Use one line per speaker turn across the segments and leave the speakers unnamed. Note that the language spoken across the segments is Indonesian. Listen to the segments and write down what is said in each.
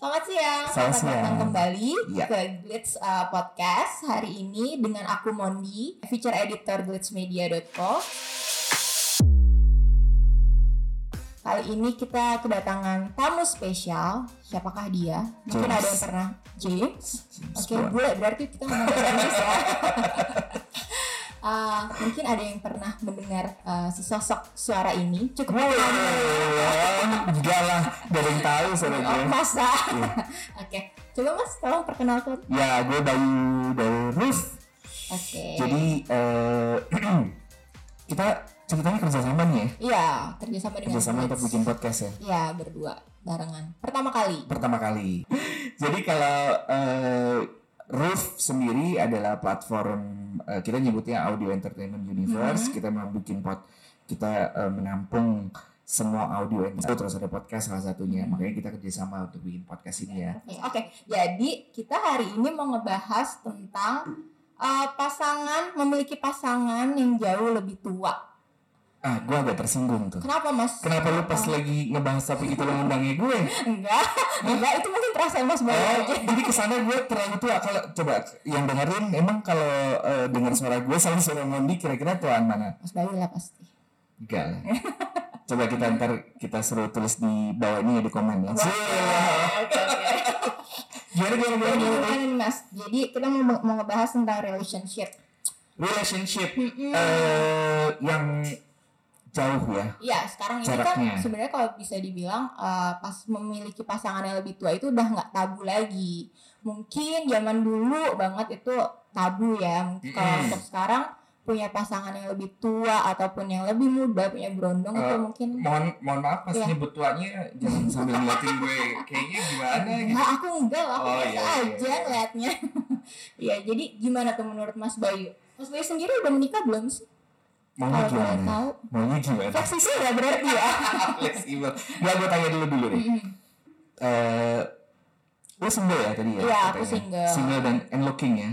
Selamat siang,
Selamat siang.
datang kembali
Iya.
ke Glitz uh, Podcast hari ini dengan aku Mondi, feature editor glitzmedia.co. Kali ini kita kedatangan tamu spesial, siapakah dia? Mungkin
James.
ada yang pernah James.
James
Oke,
Bond.
bule berarti kita ngomong James ya. Uh, mungkin ada yang pernah mendengar uh, sesosok suara ini cukup terkenal.
Wah, enggak lah, gak ada yang tahu soalnya
Oh,
gue.
masa?
Iya.
Oke, coba mas tolong perkenalkan.
Ya, gue Bayu dari Roof.
Oke.
Jadi eh, kita ceritanya kerjasama nih ya,
Iya, kerjasama dengan
kerjasama untuk
Blitz.
bikin podcast ya.
Iya, berdua barengan. Pertama kali.
pertama kali. Jadi kalau eh, Roof sendiri adalah platform eh, kita nyebutnya Audio Entertainment Universe. Kita mau bikin pod, kita eh, menampung semua audio yang terus ada podcast salah satunya. Makanya kita kerjasama untuk bikin podcast ini ya.
Oke, oke. jadi kita hari ini mau ngebahas tentang eh, pasangan memiliki pasangan yang jauh lebih tua.
Ah, gue agak tersinggung tuh.
Kenapa mas?
Kenapa lu pas lagi ngebahas topik itu lu ngundangnya gue?
Enggak, enggak itu mungkin perasaan mas baru
Oh,
aja.
jadi kesana gue terlalu tua kalau coba yang dengerin emang kalau eh, dengar suara gue sama suara Mondi kira-kira tuaan mana?
Mas Bayu lah pasti.
Enggak lah. Coba kita ntar kita suruh tulis di bawah ini ya di komen ya. Sih,
Oke, oke.
Gimana
Jadi
gimana gimana, gimana?
gimana nih mas? Jadi kita mau, mau ngebahas tentang relationship.
Relationship
Mm-mm.
eh, yang jauh ya.
Iya, sekarang ini
Jaraknya.
kan sebenarnya kalau bisa dibilang eh, pas memiliki pasangan yang lebih tua itu udah nggak tabu lagi. Mungkin zaman dulu banget itu tabu ya. Mungkin Kalau
Mm-mm.
untuk sekarang punya pasangan yang lebih tua ataupun yang lebih muda punya berondong
Eh,
itu mungkin
Mohon mohon maaf pas
Iya.
nyebut tuanya jangan sambil ngeliatin gue kayaknya gimana gitu.
Nah, aku enggak lah, aku
Oh,
biasa
iya, iya,
aja
iya.
ngeliatnya. Iya, jadi gimana tuh menurut Mas Bayu? Mas Bayu sendiri udah menikah belum sih?
Maunya
Kalau boleh
gimana?
tahu.
Maunya gimana?
Fleksibel ya berarti ya.
Fleksibel. Gak gue tanya dulu dulu nih.
Mm-mm.
Eh lu single ya tadi ya?
Iya, aku
katanya?
single.
Single dan and looking ya.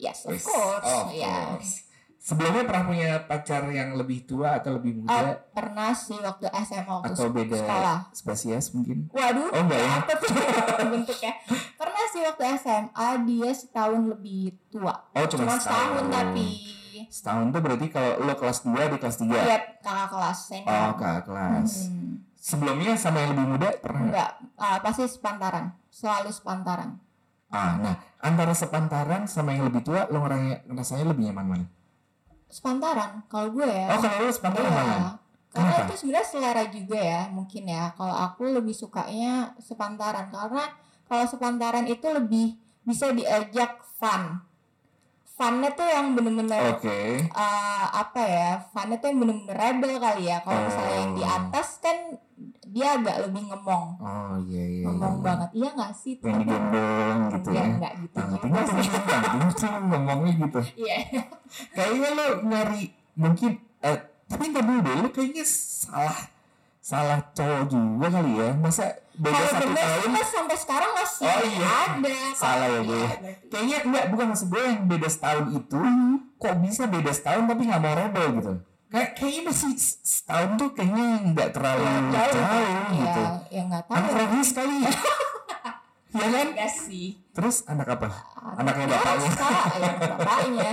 yes, of
Yes.
course.
Of
ya.
course. Sebelumnya pernah punya pacar yang lebih tua atau lebih
Ah,
muda
pernah sih waktu SMA waktu
atau beda
sekolah.
spesies mungkin?
Waduh,
Oh, enggak ya?
apa tuh bentuknya? Pernah sih waktu SMA dia setahun lebih tua.
Oh, cuma,
Cuma setahun tapi
Setahun tuh berarti kalau lo kelas 2 di kelas 3.
dia kakak kelas senior.
Iya. Oh, kakak kelas. Hmm.
Hmm.
Sebelumnya sama yang lebih muda pernah nggak?
Enggak, ah, pasti sepantaran. Selalu sepantaran.
Ah, nah, antara sepantaran sama yang lebih tua lo ngerasa- ngerasanya lebih nyaman mana?
Sepantaran kalau gue ya.
Oh, kalau lo sepantaran
Iya.
mana?
Karena
Kenapa?
itu sebenarnya selera juga ya mungkin ya. Kalau aku lebih sukanya sepantaran karena kalau sepantaran itu lebih bisa diajak fun. Funnya tuh yang bener-bener
Oke.
eh, apa ya? Funnya tuh yang bener-bener rebel kali ya. Kalau misalnya yang di
Oh.
atas kan dia agak lebih ngemong,
Oh, iya iya.
ngemong
iya.
banget. Iya nggak sih?
Pengen digendong gitu
ya,
ya.
nggak gitu.
Tangan
juga
tinggal,
sih.
tangan tinggal, tangan ngomongnya gitu.
Iya.
kayaknya lo nyari mungkin eh, tapi ntar dulu deh lo kayaknya salah salah cowok juga kali ya masa beda
Kalau
satu
bener
tahun
kita sampai sekarang masih
Oh, iya.
ada.
Salah ya, Bu.
Iya, berarti.
kayaknya enggak bukan maksud gue yang beda setahun itu
Hmm.
kok bisa beda setahun tapi nggak mau rebel gitu kayak kayaknya masih s- setahun tuh kayaknya nggak terlalu
Hmm, Jauh,
jauh, gitu
ya, ya nggak tahu.
anak kan? rohis kali ya kan
Enggak sih.
terus anak apa Anaknya
Ya,
bapaknya.
sekarang ya, bapaknya.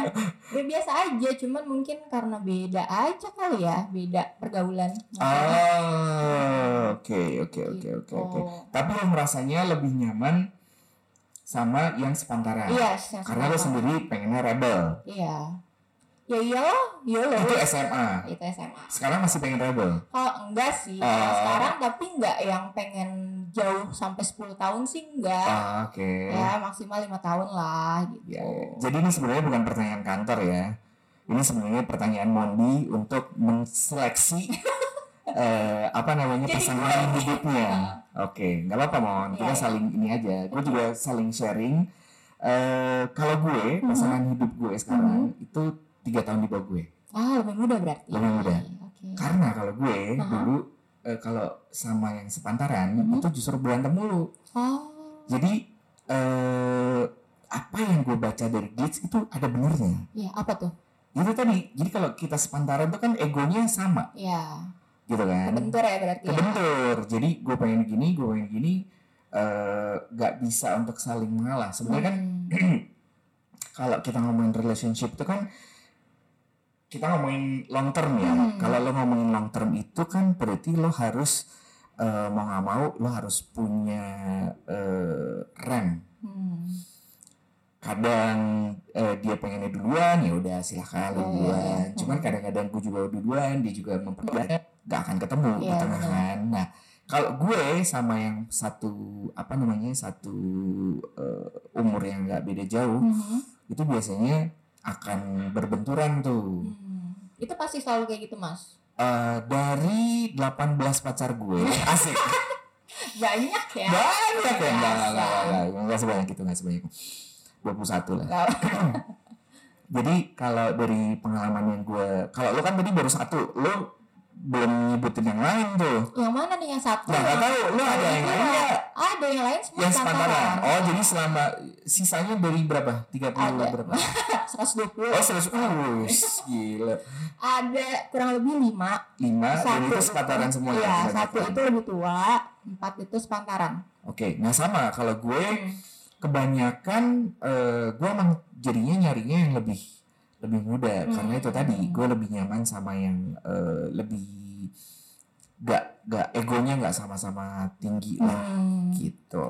Ya biasa aja, cuman mungkin karena beda aja kali ya, beda pergaulan.
Oh. Ah, oke oke oke oke
Iya. Gitu.
oke. Tapi lo merasanya lebih nyaman sama yang sepantaran.
Iya, yang
Karena lo
sekarang.
sendiri pengennya rebel.
Iya. Ya iyalah, iyalah.
Itu SMA.
Itu SMA.
Sekarang masih pengen rebel.
Kalau enggak sih, kalau
Ah.
sekarang tapi enggak yang pengen jauh sampai 10 tahun sih enggak.
Ah, oke.
Ya maksimal lima tahun lah gitu.
Ya, ya. Jadi ini sebenarnya bukan pertanyaan kantor ya. Ini sebenarnya pertanyaan Mondi untuk menseleksi eh, apa namanya
Jadi Ah.
pasangan hidupnya. Oke, nggak apa-apa Mon. Kita
Ya, ya.
saling ini aja. Gue juga
Iya.
saling sharing. Eh, kalau
Mhm.
gue pasangan hidup gue sekarang itu tiga tahun di bawah gue.
Ah, lebih muda berarti.
Lebih muda.
Oke.
Karena kalau gue
Aha.
dulu eh, kalau sama yang sepantaran
Mhm.
itu justru berantem mulu.
Oh,
Jadi eh apa yang gue baca dari Glitz itu ada benernya.
ya apa tuh?
Itu tadi, jadi kalau kita sepantaran itu kan egonya sama
Ya,
gitu kan.
kebentur ya berarti. ya?
Kebentur. Jadi gue pengen gini, gue pengen gini. eh, nggak bisa untuk saling mengalah sebenarnya kan
Hmm.
kalau kita ngomongin relationship itu kan kita ngomongin long term ya.
Hmm.
Kalau lo ngomongin long term itu kan berarti lo harus eh, mau nggak mau lo harus punya eh, rem.
Hmm.
Kadang eh, dia pengennya duluan ya udah silahkan
Oh, iya,
lo duluan.
iya.
Cuman kadang-kadang gue juga duluan, dia juga memperberat, nggak akan ketemu di
Iya,
tengah
benar.
kan. Nah kalau gue sama yang satu apa namanya satu eh, umur yang nggak beda jauh
Mhm.
itu biasanya akan berbenturan tuh.
Hmm. Itu pasti selalu kayak gitu, Mas.
Eh, dari 18 pacar gue, asik.
Banyak ya.
Banyak ya, enggak, enggak, enggak,
Biasa.
enggak, enggak, enggak sebanyak itu, enggak sebanyak itu. 21 lah.
Lalu-
Jadi kalau dari pengalaman yang gue, kalau lo kan tadi baru satu, lo belum nyebutin yang lain tuh.
Yang mana nih yang satu?
Nah, nggak tahu, lo ada yang lain nggak?
Ada ya, yang lain semua
Yang sepantaran.
sepantaran.
Oh, jadi selama sisanya dari berapa? 30
Ada.
berapa?
120.
Oh, 100. Uh, gila.
Ada kurang lebih lima.
5 dan
Satu
Ah, itu sepataran semua ya,
Iya,
sebanyak
satu
itu.
itu lebih tua, empat itu sepantaran.
Oke, nah sama kalau gue kebanyakan eh, gue emang jadinya nyarinya yang lebih lebih muda
Hmm.
karena itu tadi gue lebih nyaman sama yang eh, lebih gak gak egonya nggak sama-sama tinggi lah
Hmm.
gitu.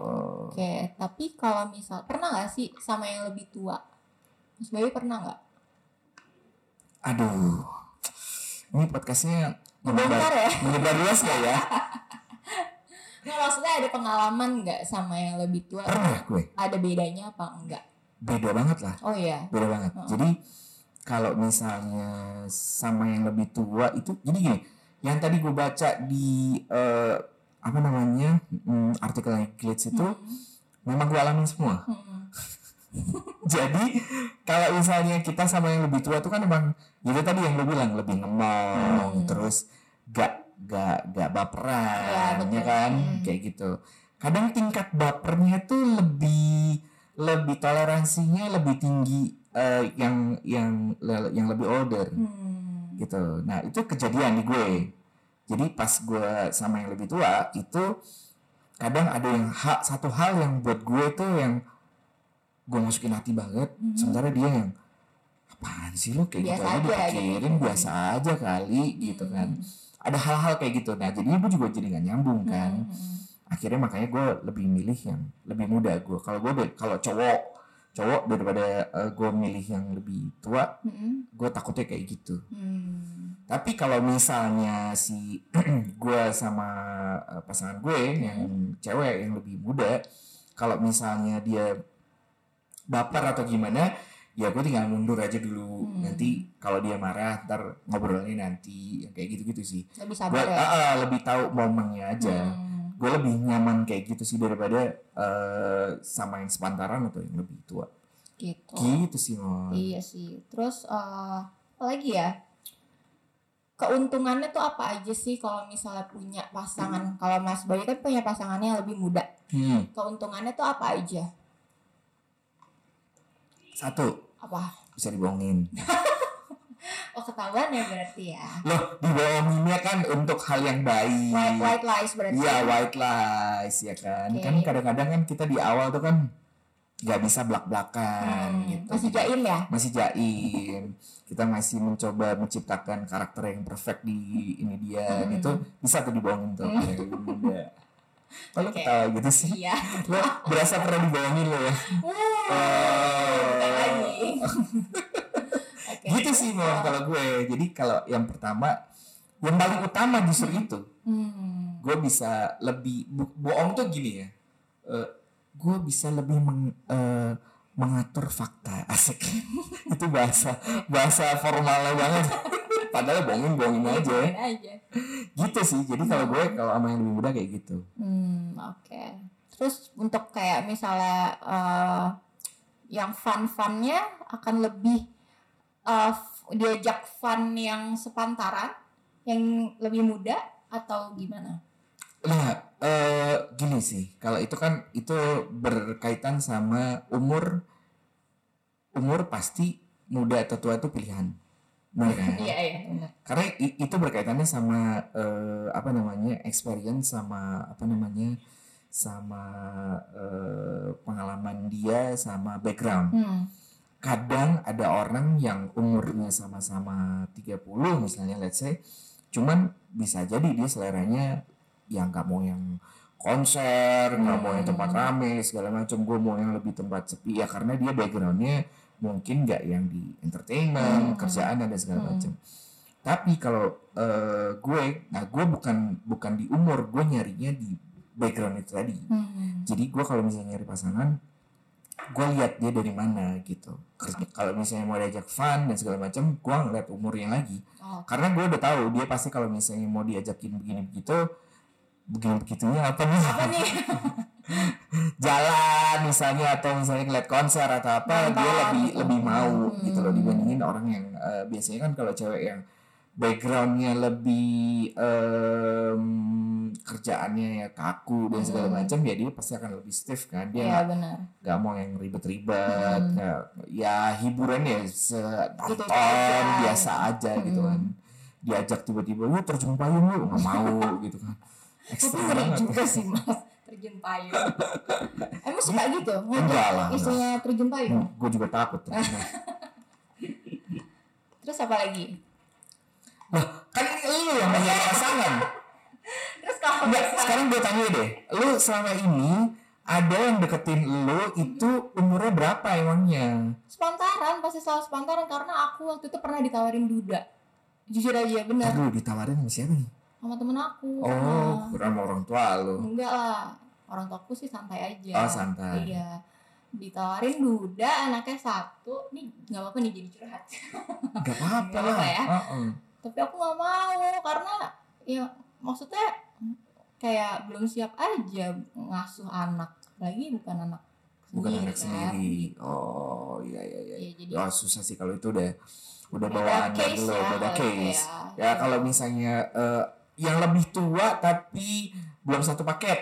Oke, tapi kalau misal pernah nggak sih sama yang lebih tua? Mas Bayu pernah nggak?
Aduh, ini podcastnya
Bentar
menyebar
ya.
menyebar luas gak ya?
Nggak, maksudnya ada pengalaman nggak sama yang lebih tua?
Pernah gue,
Ada bedanya apa enggak?
beda banget lah.
Oh iya.
beda banget.
Heeh.
Jadi kalau misalnya sama yang lebih tua itu, jadi gini, yang tadi gue baca di eh, apa namanya hmm, artikel yang Glitz itu, memang gue alamin semua.
Hmm. Hmm.
jadi kalau misalnya kita sama yang lebih tua tuh kan emang, itu tadi yang lo bilang lebih ngemong,
Hmm.
terus gak gak gak
Iya,
baperan, ya
betul.
kan,
Hmm.
kayak gitu. Kadang tingkat bapernya tuh lebih lebih toleransinya lebih tinggi eh, yang yang yang lebih older
Hmm.
gitu. Nah itu kejadian di gue. Jadi pas gue sama yang lebih tua itu kadang ada yang hak satu hal yang buat gue tuh yang gue masukin hati banget.
Mhm.
Sementara dia yang apaan sih lo
Biasa
kayak gitu
aja,
aja dipikirin
gitu.
biasa aja kali gitu kan.
Hmm.
Ada hal-hal kayak gitu. Nah jadinya gue juga jadi gak nyambung
Hmm,
kan.
hmm,
Akhirnya makanya gue lebih milih yang lebih muda gue. Kalau gue be- kalau cowok cowok daripada eh, gue milih yang lebih tua,
hmm, hmm,
gue takutnya kayak gitu.
hmm.
Tapi kalau misalnya si gue sama eh, pasangan gue yang
Hmm.
cewek yang lebih muda, kalau misalnya dia baper atau gimana, ya gue tinggal mundur aja dulu.
Hmm.
Nanti kalau dia marah, ntar ngobrolnya nanti yang kayak gitu-gitu sih.
Lebih
Gue
sabar ya.
ah, ah, lebih tahu momennya aja.
Hmm.
Gue lebih nyaman kayak gitu sih daripada eh, sama yang sepantaran atau yang lebih tua.
Gitu.
Gitu sih, Mon.
Iya sih. Terus eh apa lagi ya? Keuntungannya tuh apa aja sih kalau misalnya punya pasangan? Kalau Mas Bayu kan punya pasangannya yang lebih muda.
Hmm.
Keuntungannya tuh apa aja?
Satu,
Apa?
bisa dibohongin.
Oh ketahuan ya berarti ya.
loh dibohonginnya kan untuk hal yang baik
White, white lies berarti.
Hmm.
ya?
iya white lies ya kan
Oke.
kan kadang-kadang kan kita di awal tuh kan nggak bisa belak belakan
Hmm,
gitu
Masih
Kita-
jaim ya?
masih jaim kita masih mencoba menciptakan karakter yang perfect di ini dia
Hmm.
gitu bisa tuh dibohongin tuh
Hmm.
Iya. Kok lo
Oke.
ketawa gitu sih
Iya.
lo berasa pernah dibohongin lo ya
Bukan lagi. Oke.
Oh. gitu sih memang kalau gue jadi kalau yang pertama yang paling utama justru itu
Hmm.
gue bisa lebih bo- bohong tuh gini ya gue bisa lebih meng- eh, mengatur fakta asik itu bahasa bahasa formalnya banget padahal bohongin bohongin aja
Biarin aja.
gitu sih jadi kalau gue kalau sama yang lebih muda kayak gitu
Hmm, oke. Terus untuk kayak misalnya eh, yang fun-funnya akan lebih eh, f- diajak fun yang sepantaran, yang lebih muda atau gimana?
nah eh, gini sih kalau itu kan itu berkaitan sama umur umur pasti muda atau tua itu pilihan bener kan?
Iya, iya, benar.
karena i- itu berkaitannya sama eh, apa namanya experience sama apa namanya sama eh, pengalaman dia sama background.
Hmm.
Kadang ada orang yang umurnya sama-sama 30 misalnya let's say, cuman bisa jadi dia seleranya yang nggak mau yang konser, nggak mau yang
Hmm.
tempat rame segala macam, gue mau yang lebih tempat sepi ya karena dia backgroundnya mungkin nggak yang di
Hmm.
entertainment, kerjaan dan segala
Hmm.
macam. Tapi kalau eh, gue, nah gue bukan bukan di umur, gue nyarinya di background itu tadi
Hmm.
jadi gue kalau misalnya nyari pasangan gue lihat dia dari mana gitu Kerja- kalau misalnya mau diajak fun dan segala macam gue ngeliat umurnya lagi
Oh,
karena gue udah tahu dia pasti kalau misalnya mau diajakin begini begitu begini begitunya apa nih
apa nih?
jalan misalnya atau misalnya ngeliat konser atau apa dia
Nonton,
lebih
gitu.
lebih mau gitu loh
Hmm.
dibandingin orang yang eh, biasanya kan kalau cewek yang backgroundnya lebih em, kerjaannya ya kaku dan segala
Hmm.
macam ya dia pasti akan lebih stiff kan dia
Iya benar.
nggak mau yang ribet-ribet
Hmm.
nggak- ya hiburan ya se
Gitu-gitu
nonton,
aja.
biasa aja gitu
Hmm.
kan diajak tiba-tiba lu terjun payung lu nggak mau gitu kan
Tapi
ekstrim
ngeri
banget
juga sih mas terjun payung. Emang suka gitu?
Enggak lah,
Istrinya terjun payung.
gue Hmm, juga takut
Terus apa lagi?
kan ini lu yang
Iya.
banyak pasangan
Terus kalau
Nggak,
misalnya
sekarang gue tanya deh lu selama ini ada yang deketin lu itu umurnya berapa emangnya
spontaran pasti selalu spontaran karena aku waktu itu pernah ditawarin duda. Jujur aja benar
Aduh ditawarin sama siapa nih
sama temen aku.
oh sama orang tua lu
Nah, enggak lah orang tuaku sih santai aja.
oh santai
Iya ditawarin duda anaknya satu nih nggak apa-apa nih jadi curhat
nggak apa-apa
Nggak
lah
apa-apa ya.
Heeh.
tapi aku nggak mau karena ya maksudnya kayak belum siap aja ngasuh anak lagi bukan anak
bukan
sendiri,
anak
kan.
sendiri oh iya iya iya
Iya, jadi
ya susah sih kalau itu udah udah
beda
bawaan dari
case
lo
ya,
beda
kalau
case
kayak-
ya kalau misalnya eh, yang lebih tua tapi belum satu paket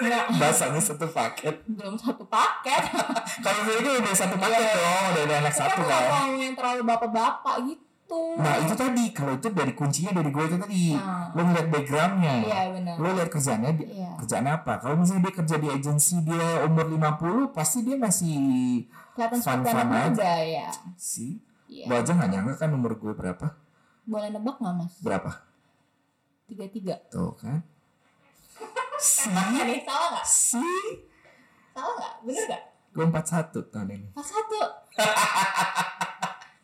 Nggak,
bahasanya satu paket
belum satu paket
kalau misalnya udah satu paket
Iya.
dong udah ada anak
Tapi
satu
aku nggak
kan
mau yang terlalu bapak-bapak gitu
nah itu tadi kalau itu dari kuncinya dari gue itu tadi
Nah,
lo ngeliat backgroundnya
iya benar
lo lihat kerjaannya di-
iya
kerjaan apa kalau misalnya dia kerja di agensi dia umur 50 pasti dia masih
kelihatan seperti
Fun-fun
anak
aja.
muda ya
si
Iya.
Lo aja gak nyangka kan umur gue berapa
boleh nebak nggak mas
berapa
tiga tiga
Tuh kan. Si,
nih salah nggak
si,
salah nggak bener nggak
gue 41 tahun ini.
pas satu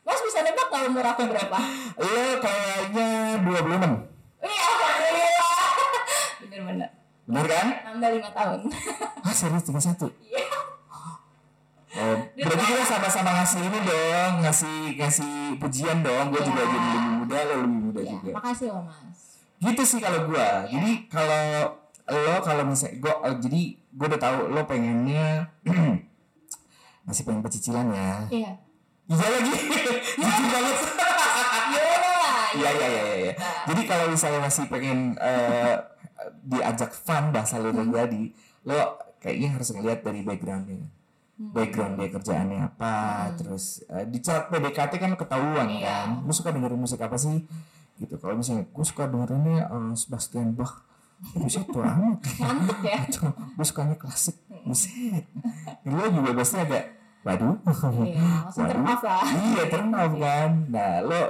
mas bisa nebak nggak umur aku berapa
Lo kayaknya 26.
Wih, alhamdulillah. Bener-bener.
Bener kan?
6 dari 5 tahun.
Ah serius 31?
Iya.
Oh, berarti kita sama-sama ngasih ini dong, ngasih ngasih pujian dong. Gue juga
Iya.
jadi lebih muda, lo lebih muda
Ya,
juga.
makasih loh, Mas.
Gitu sih kalau gue. Jadi kalau lo kalau misalnya gue, oh, jadi gue udah tahu lo pengennya masih pengen pecicilan ya.
Iya.
Iya lagi, jujur banget.
Yola lah.
Iya iya iya iya. iya.
Nah.
Jadi kalau misalnya masih pengen eh, diajak fun bahasa lo yang tadi, lo kayaknya harus ngeliat dari backgroundnya,
Hmm.
background dia kerjaannya apa,
Hmm.
terus eh, di chart PDKT kan ketahuan
Iya.
kan, lo suka dengerin musik apa sih? Gitu. Kalau misalnya gue suka dengerinnya eh, Sebastian Bach, musik tua amat.
Mantep ya.
Atau gue sukanya klasik,
Hmm.
musik. Lo juga pasti agak, waduh.
Iya, langsung
Waduh.
termaaf lah.
Iya, termaaf kan. Nah, lo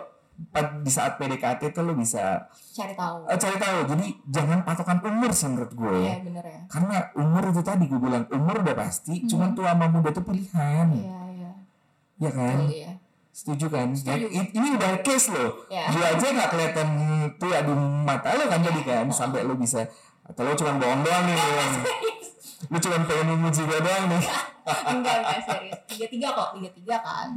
pa- di saat PDKT tuh lo bisa
Cari tahu.
eh, cari tahu. Jadi jangan patokan umur sih menurut gue.
Iya, bener ya.
Karena umur itu tadi gue bilang umur udah pasti,
Hmm.
cuman tua sama muda tuh pilihan.
Iya, iya.
Iya kan?
Betul ya.
Setuju kan? Ya,
Setuju.
i- ini udah case loh.
Iya.
Gue aja nggak kelihatan tua di mata lo kan jadi kan sampai lo bisa atau lo cuma bohong doang nih. kan? lo cuma pengen memuji gue doang nih.
Enggak, enggak serius. Tiga-tiga kok, tiga-tiga kan.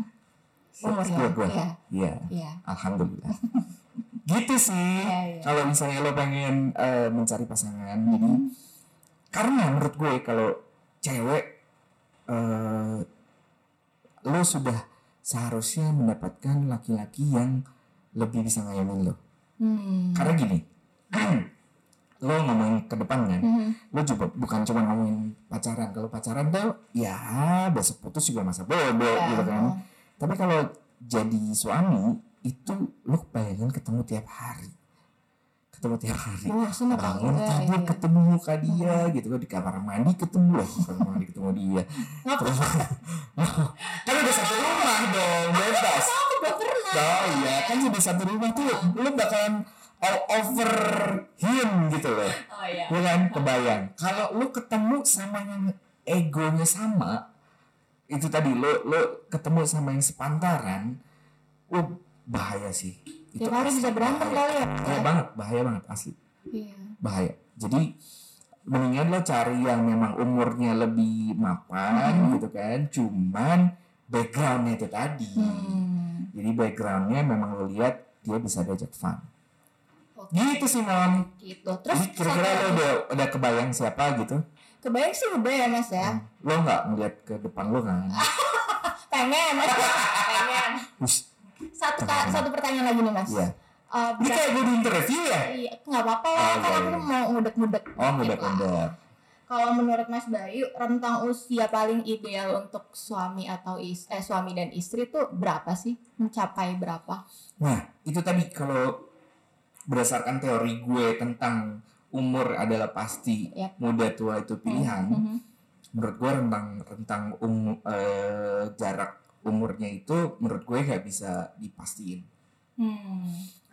Umur
Gue gue.
Iya,
Iya.
iya.
Alhamdulillah. gitu sih.
Iya, iya.
Kalau misalnya lo pengen eh, mencari pasangan, jadi
Mm-hmm.
karena menurut gue kalau cewek eh, lo sudah seharusnya mendapatkan laki-laki yang lebih bisa ngayomin lo.
Hmm.
Karena gini, lo ngomongin ke depan kan,
Mhm.
lo juga bukan cuma ngomongin pacaran. Kalau pacaran tuh ya besok putus juga masa bodoh
Iya,
gitu kan.
oh.
Tapi kalau jadi suami itu lo bayangin ketemu tiap hari. ketemu tiap hari
Wah, seneng
bangun
banget.
tidur ketemu muka dia gitu kan di kamar mandi ketemu loh di kamar mandi ketemu dia terus kan udah satu rumah dong bebas
Aku udah pernah.
oh iya kan udah satu rumah tuh lu bakalan all over him gitu loh
Oh iya.
Lu kan kebayang kalau lu ketemu sama yang egonya sama itu tadi lu lu ketemu sama yang sepantaran lu bahaya sih itu
Tiap hari
asli
bisa berantem
bahaya.
kali ya.
bahaya banget bahaya banget asli
Iya.
bahaya jadi mendingan lo cari yang memang umurnya lebih
Hmm.
mapan gitu kan cuman backgroundnya itu tadi
Hmm.
jadi backgroundnya memang lo lihat dia bisa diajak fun
Oke.
gitu sih mam
Gitu. Terus
jadi kira-kira lo udah, udah kebayang siapa gitu
kebayang sih udah ya mas ya.
lo nggak ngeliat ke depan lo kan
Pengen. Pengen.
terus
Satu ka- satu pertanyaan lagi nih mas.
Iya.
Eh,
ini kayak gue di interview ya
Iya, nggak apa-apa lah,
Oh,
kan
iya,
aku
iya.
mau ngudek-ngudek.
oh
dikit
ngedek
lah.
ngedek
Kalau menurut Mas Bayu, rentang usia paling ideal untuk suami atau is eh suami dan istri tuh berapa sih? Mencapai berapa?
Nah, itu tadi kalau berdasarkan teori gue tentang umur adalah pasti
Yap.
muda tua itu pilihan.
Mhm.
Menurut gue rentang rentang um, eh, jarak umurnya itu menurut gue nggak bisa dipastiin.
Hmm.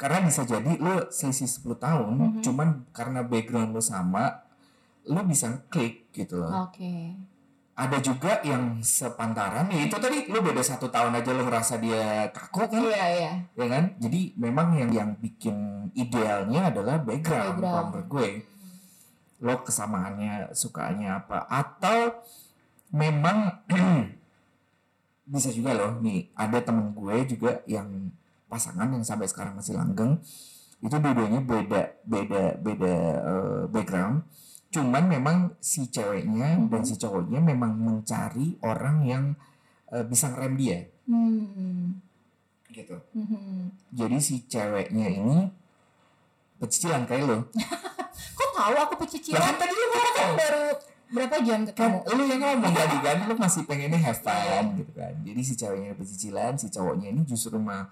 Karena bisa jadi lo selisih 10 tahun,
Mhm.
cuman karena background lo sama, lo bisa klik gitu loh.
Oke.
Ada juga yang sepantaran, ya itu tadi lo beda satu tahun aja lo ngerasa dia kaku kan?
Iya, iya.
ya kan jadi memang yang yang bikin idealnya adalah background,
Background.
kalau menurut gue lo kesamaannya sukanya apa atau memang bisa juga loh nih ada temen gue juga yang pasangan yang sampai sekarang masih langgeng itu dua-duanya beda beda beda eh, background cuman memang si ceweknya dan si cowoknya memang mencari orang yang eh, bisa ngerem dia
Hmm.
gitu
Mhm.
jadi si ceweknya ini pecicilan kayak lo
Kok tahu aku
Lah,
pecicilan?
tadi lu
Kan
ngomong
baru berapa jam
kan
ketemu?
lu yang ngomong tadi kan lu masih pengennya have fun gitu kan jadi si ceweknya pecicilan si cowoknya ini justru mah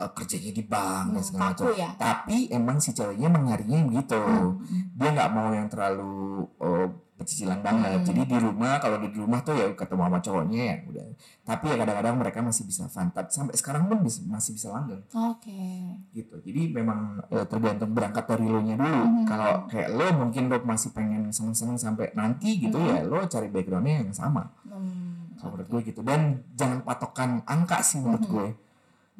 eh, kerjanya di bank dan
Hmm,
segala macam
kaku ya.
tapi emang si ceweknya mengharinya gitu
Hmm.
dia nggak mau yang terlalu eh, pecicilan banget
Hmm.
jadi di rumah kalau di rumah tuh ya ketemu sama cowoknya ya udah tapi ya kadang-kadang mereka masih bisa fun Tapi sampai sekarang pun bisa- masih bisa langgeng
Oke.
gitu jadi memang eh, tergantung berangkat dari lo nya dulu
Mhm.
kalau kayak lo mungkin lo masih pengen seneng-seneng sampai nanti
Mhm.
gitu ya lo cari backgroundnya yang sama
Hmm.
kalau menurut gue gitu dan jangan patokan angka sih menurut
Mhm.
gue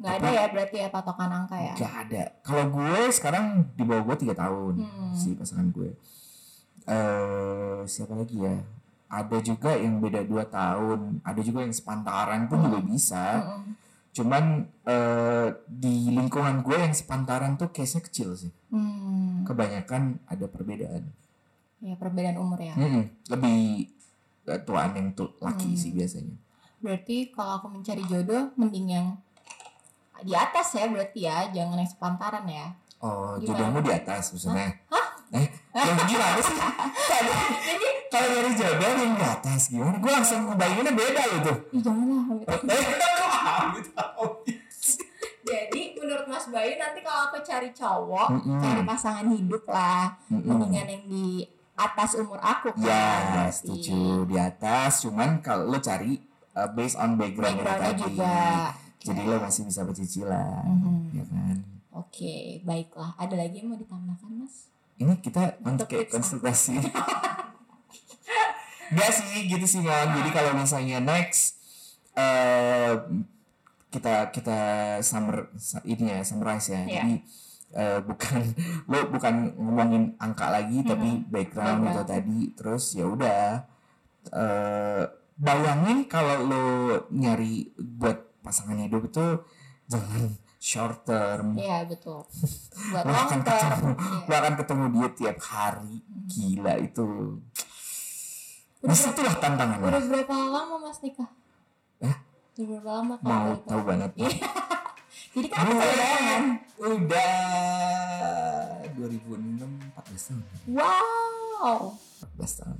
Nggak ada ya berarti ya patokan angka ya?
gak ada kalau gue sekarang di bawah gue tiga tahun
Hmm.
si pasangan gue eh siapa lagi ya ada juga yang beda dua tahun ada juga yang sepantaran pun
Mhm.
juga bisa
Mm-mm.
cuman eh, di lingkungan gue yang sepantaran tuh case nya kecil sih
Hmm.
kebanyakan ada perbedaan.
Ya perbedaan umur ya.
Mm-mm, Lebih eh, tuaan yang tuh laki
Hmm.
sih biasanya.
Berarti kalau aku mencari jodoh mending yang di atas ya berarti ya, jangan yang sepantaran ya.
Oh,
Gimana?
jodohmu di atas maksudnya. Eh, yang gimana sih? Kalau- Kalau dari jodoh yang di atas gimana? Gue langsung ngebayanginnya beda loh tuh.
Ih, janganlah. gitu.
Eh, kok aku tahu?
Jadi menurut Mas Bayu nanti kalau aku cari cowok,
Mm-mm.
cari pasangan hidup lah,
Mm-mm.
mendingan yang di atas umur aku kan.
Ya,
berarti. Iya.
setuju di atas. Cuman kalau lo cari eh, based on background yang
Backgroundnya
tadi.
juga.
Jadi lo masih bisa bercicilan,
Mhm.
ya kan?
Oke, baiklah. Ada lagi yang mau ditambahkan, Mas?
ini kita untuk
Untuk
kayak
periksa.
konsultasi Gak sih gitu sih Mam.
Ah.
Jadi kalau misalnya next eh kita kita summer sa- ini ya summarize
Iya.
ya. Jadi eh, bukan lo bukan ngomongin angka lagi tapi background itu
Background.
tadi terus ya udah eh bayangin kalau lo nyari buat pasangan hidup itu jangan short term
Iya, betul. Buat
lo
long term.
akan ketemu
Oh, Iya.
lo akan ketemu dia tiap hari gila itu
Udah,
disitulah tantangannya
udah berapa lama Mas nikah? Udah berapa lama kalau
mau
boleh
tahu banget
Iya. Jadi kan aku
Gue
punya bayangan.
udah 2006 14 tahun
Wow,
14 tahun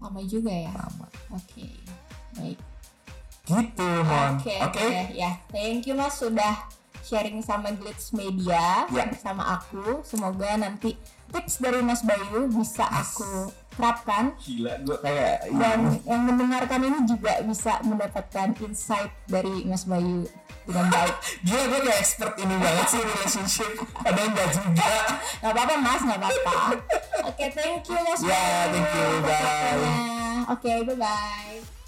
lama juga ya.
lama
Oke, baik.
gitu mon
Oke, oke, ya. Thank you Mas sudah sharing sama Glitz Media
Ya.
sama aku. Semoga nanti tips dari Mas Bayu bisa aku terapkan
Gila, gue kayak
dan
Ah.
yang mendengarkan ini juga bisa mendapatkan insight dari Mas Bayu dengan baik.
Gila, gue gak expert ini banget sih relationship Padahal gak juga
Gak apa-apa Mas, gak apa-apa. Oke, thank you Mas.
Ya, thank you, bye.
Percakapannya. Oke, bye bye.